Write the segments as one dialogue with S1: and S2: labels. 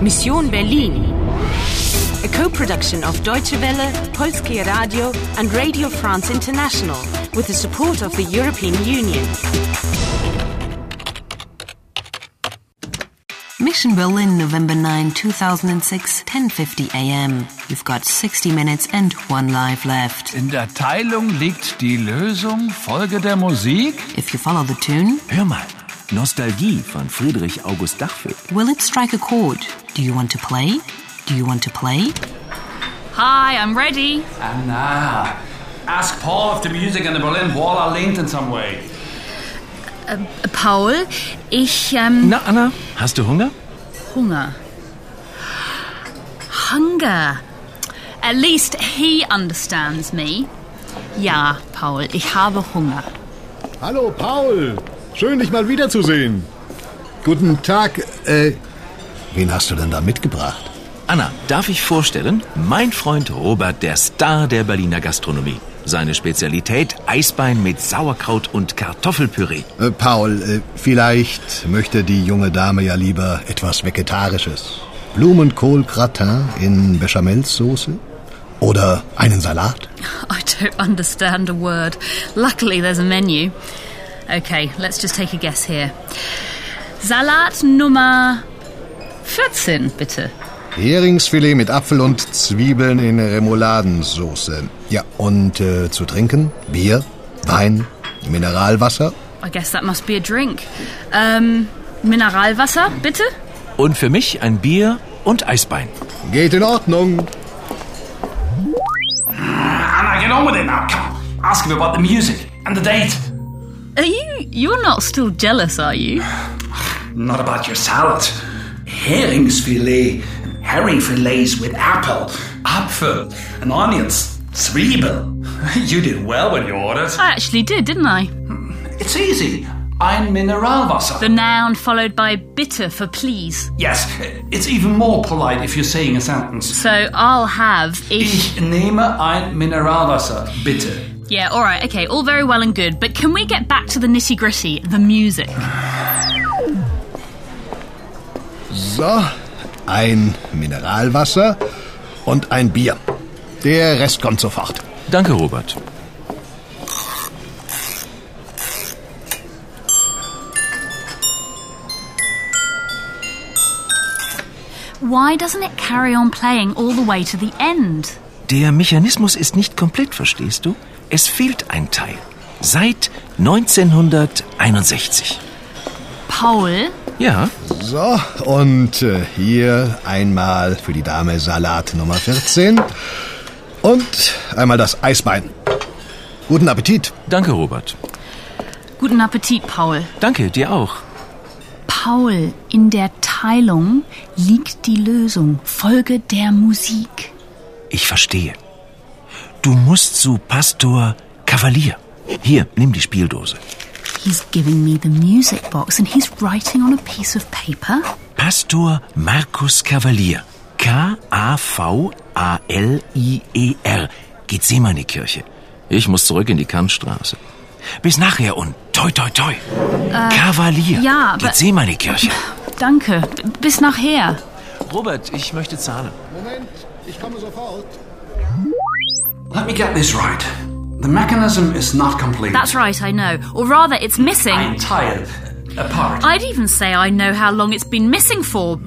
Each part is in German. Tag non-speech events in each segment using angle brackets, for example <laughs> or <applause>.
S1: Mission Berlin. A co-production of Deutsche Welle, Polskie Radio and Radio France International with the support of the European Union.
S2: Mission Berlin, November 9, 2006, 10:50 a.m. You've got 60 minutes and one life left.
S3: In der Teilung liegt die Lösung. Folge der Musik.
S2: If you follow the tune,
S4: Hör mal, Nostalgie von Friedrich August Dachfeld.
S2: will it strike a chord? Do you want to play? Do you want to play?
S5: Hi, I'm ready.
S3: Anna, ask Paul if the music and the Berlin Wall are linked in some way.
S5: Paul, ich ähm,
S4: Na, Anna, hast du Hunger?
S5: Hunger. Hunger. At least he understands me. Ja, Paul, ich habe Hunger. <laughs>
S6: Hallo Paul, schön dich mal wiederzusehen.
S7: Guten Tag, äh, wen hast du denn da mitgebracht?
S4: Anna, darf ich vorstellen? Mein Freund Robert, der Star der Berliner Gastronomie. Seine Spezialität Eisbein mit Sauerkraut und Kartoffelpüree.
S7: Äh, Paul, äh, vielleicht möchte die junge Dame ja lieber etwas Vegetarisches. Blumenkohl-Gratin in Bechamelsoße? Oder einen Salat?
S5: I don't understand a word. Luckily, there's a menu. Okay, let's just take a guess here. Salat Nummer 14, bitte.
S7: Heringsfilet mit Apfel und Zwiebeln in Remouladensoße. Ja, und äh, zu trinken? Bier, Wein, Mineralwasser?
S5: I guess that must be a drink. Ähm, Mineralwasser, bitte?
S4: Und für mich ein Bier und Eisbein.
S7: Geht in Ordnung.
S3: Anna, get on with it now. Come on. Ask him about the music and the date.
S5: Are you you're not still jealous, are you?
S3: Not about your salad. Heringsfilet. Herring fillets with apple, apfel, and onions. Zwiebel. <laughs> You did well when you ordered.
S5: I actually did, didn't I?
S3: It's easy. Ein Mineralwasser.
S5: The noun followed by bitter for please.
S3: Yes, it's even more polite if you're saying a sentence.
S5: So I'll have
S3: <laughs>
S5: ich.
S3: Ich nehme ein Mineralwasser, bitte.
S5: Yeah, all right, okay, all very well and good, but can we get back to the nitty gritty, the music?
S7: So, ein Mineralwasser und ein Bier. Der Rest kommt sofort.
S4: Danke, Robert.
S5: Why doesn't it carry on playing all the way to the end?
S4: Der Mechanismus ist nicht komplett, verstehst du? Es fehlt ein Teil. Seit 1961.
S5: Paul,
S4: Ja,
S7: So, und äh, hier einmal für die Dame Salat Nummer 14 und einmal das Eisbein. Guten Appetit.
S4: danke, Robert.
S5: guten Appetit, Paul.
S4: Danke, dir auch.
S5: Paul, in der Teilung liegt die Lösung. Folge der Musik.
S4: Ich verstehe. Du musst zu Pastor Kavalier. Hier, nimm die Spieldose.
S5: He's giving me the music box and he's writing on a piece of paper.
S4: Pastor Markus Kavalier. K-A-V-A-L-I-E-R. Geht sie mal in die E Kirche. Ich muss zurück in die Kantstraße. Bis nachher und toi toi toi. Kavalier.
S5: ja, aber-
S4: Geht sie mal in die Kirche.
S5: Danke. B- Bis nachher.
S4: Robert, ich möchte zahlen.
S7: Moment, ich komme sofort.
S3: Let me get this right. The mechanism is not complete.
S5: That's right, I know. Or rather, it's missing.
S3: Ein Teil, a part.
S5: I'd even say I know how long it's been missing for.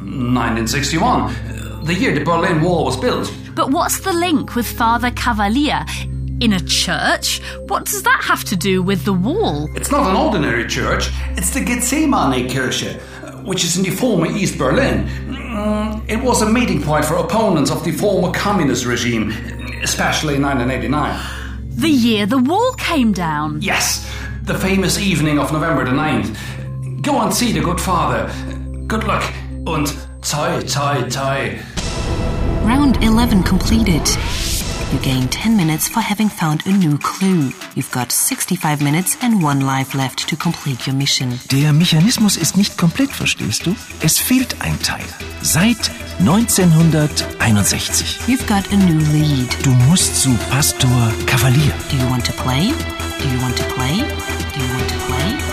S3: 1961, the year the Berlin Wall was built.
S5: But what's the link with Father Cavalier? In a church? What does that have to do with the wall?
S3: It's not an ordinary church, it's the Gethsemane Kirche, which is in the former East Berlin. Mm, It was a meeting point for opponents of the former communist regime, especially in 1989.
S5: The year the wall came down.
S3: Yes, the famous evening of November the 9th. Go and see the good father. Good luck and toi toi toi.
S2: Round 11 completed. You gain 10 minutes for having found a new clue. You've got 65 minutes and one life left to complete your mission.
S4: Der Mechanismus ist nicht komplett, verstehst du? Es fehlt ein Teil. Seit 1961.
S2: You've got a new lead.
S4: Du musst zu Pastor Kavalier.
S2: Do you want to play? Do you want to play? Do you want to play?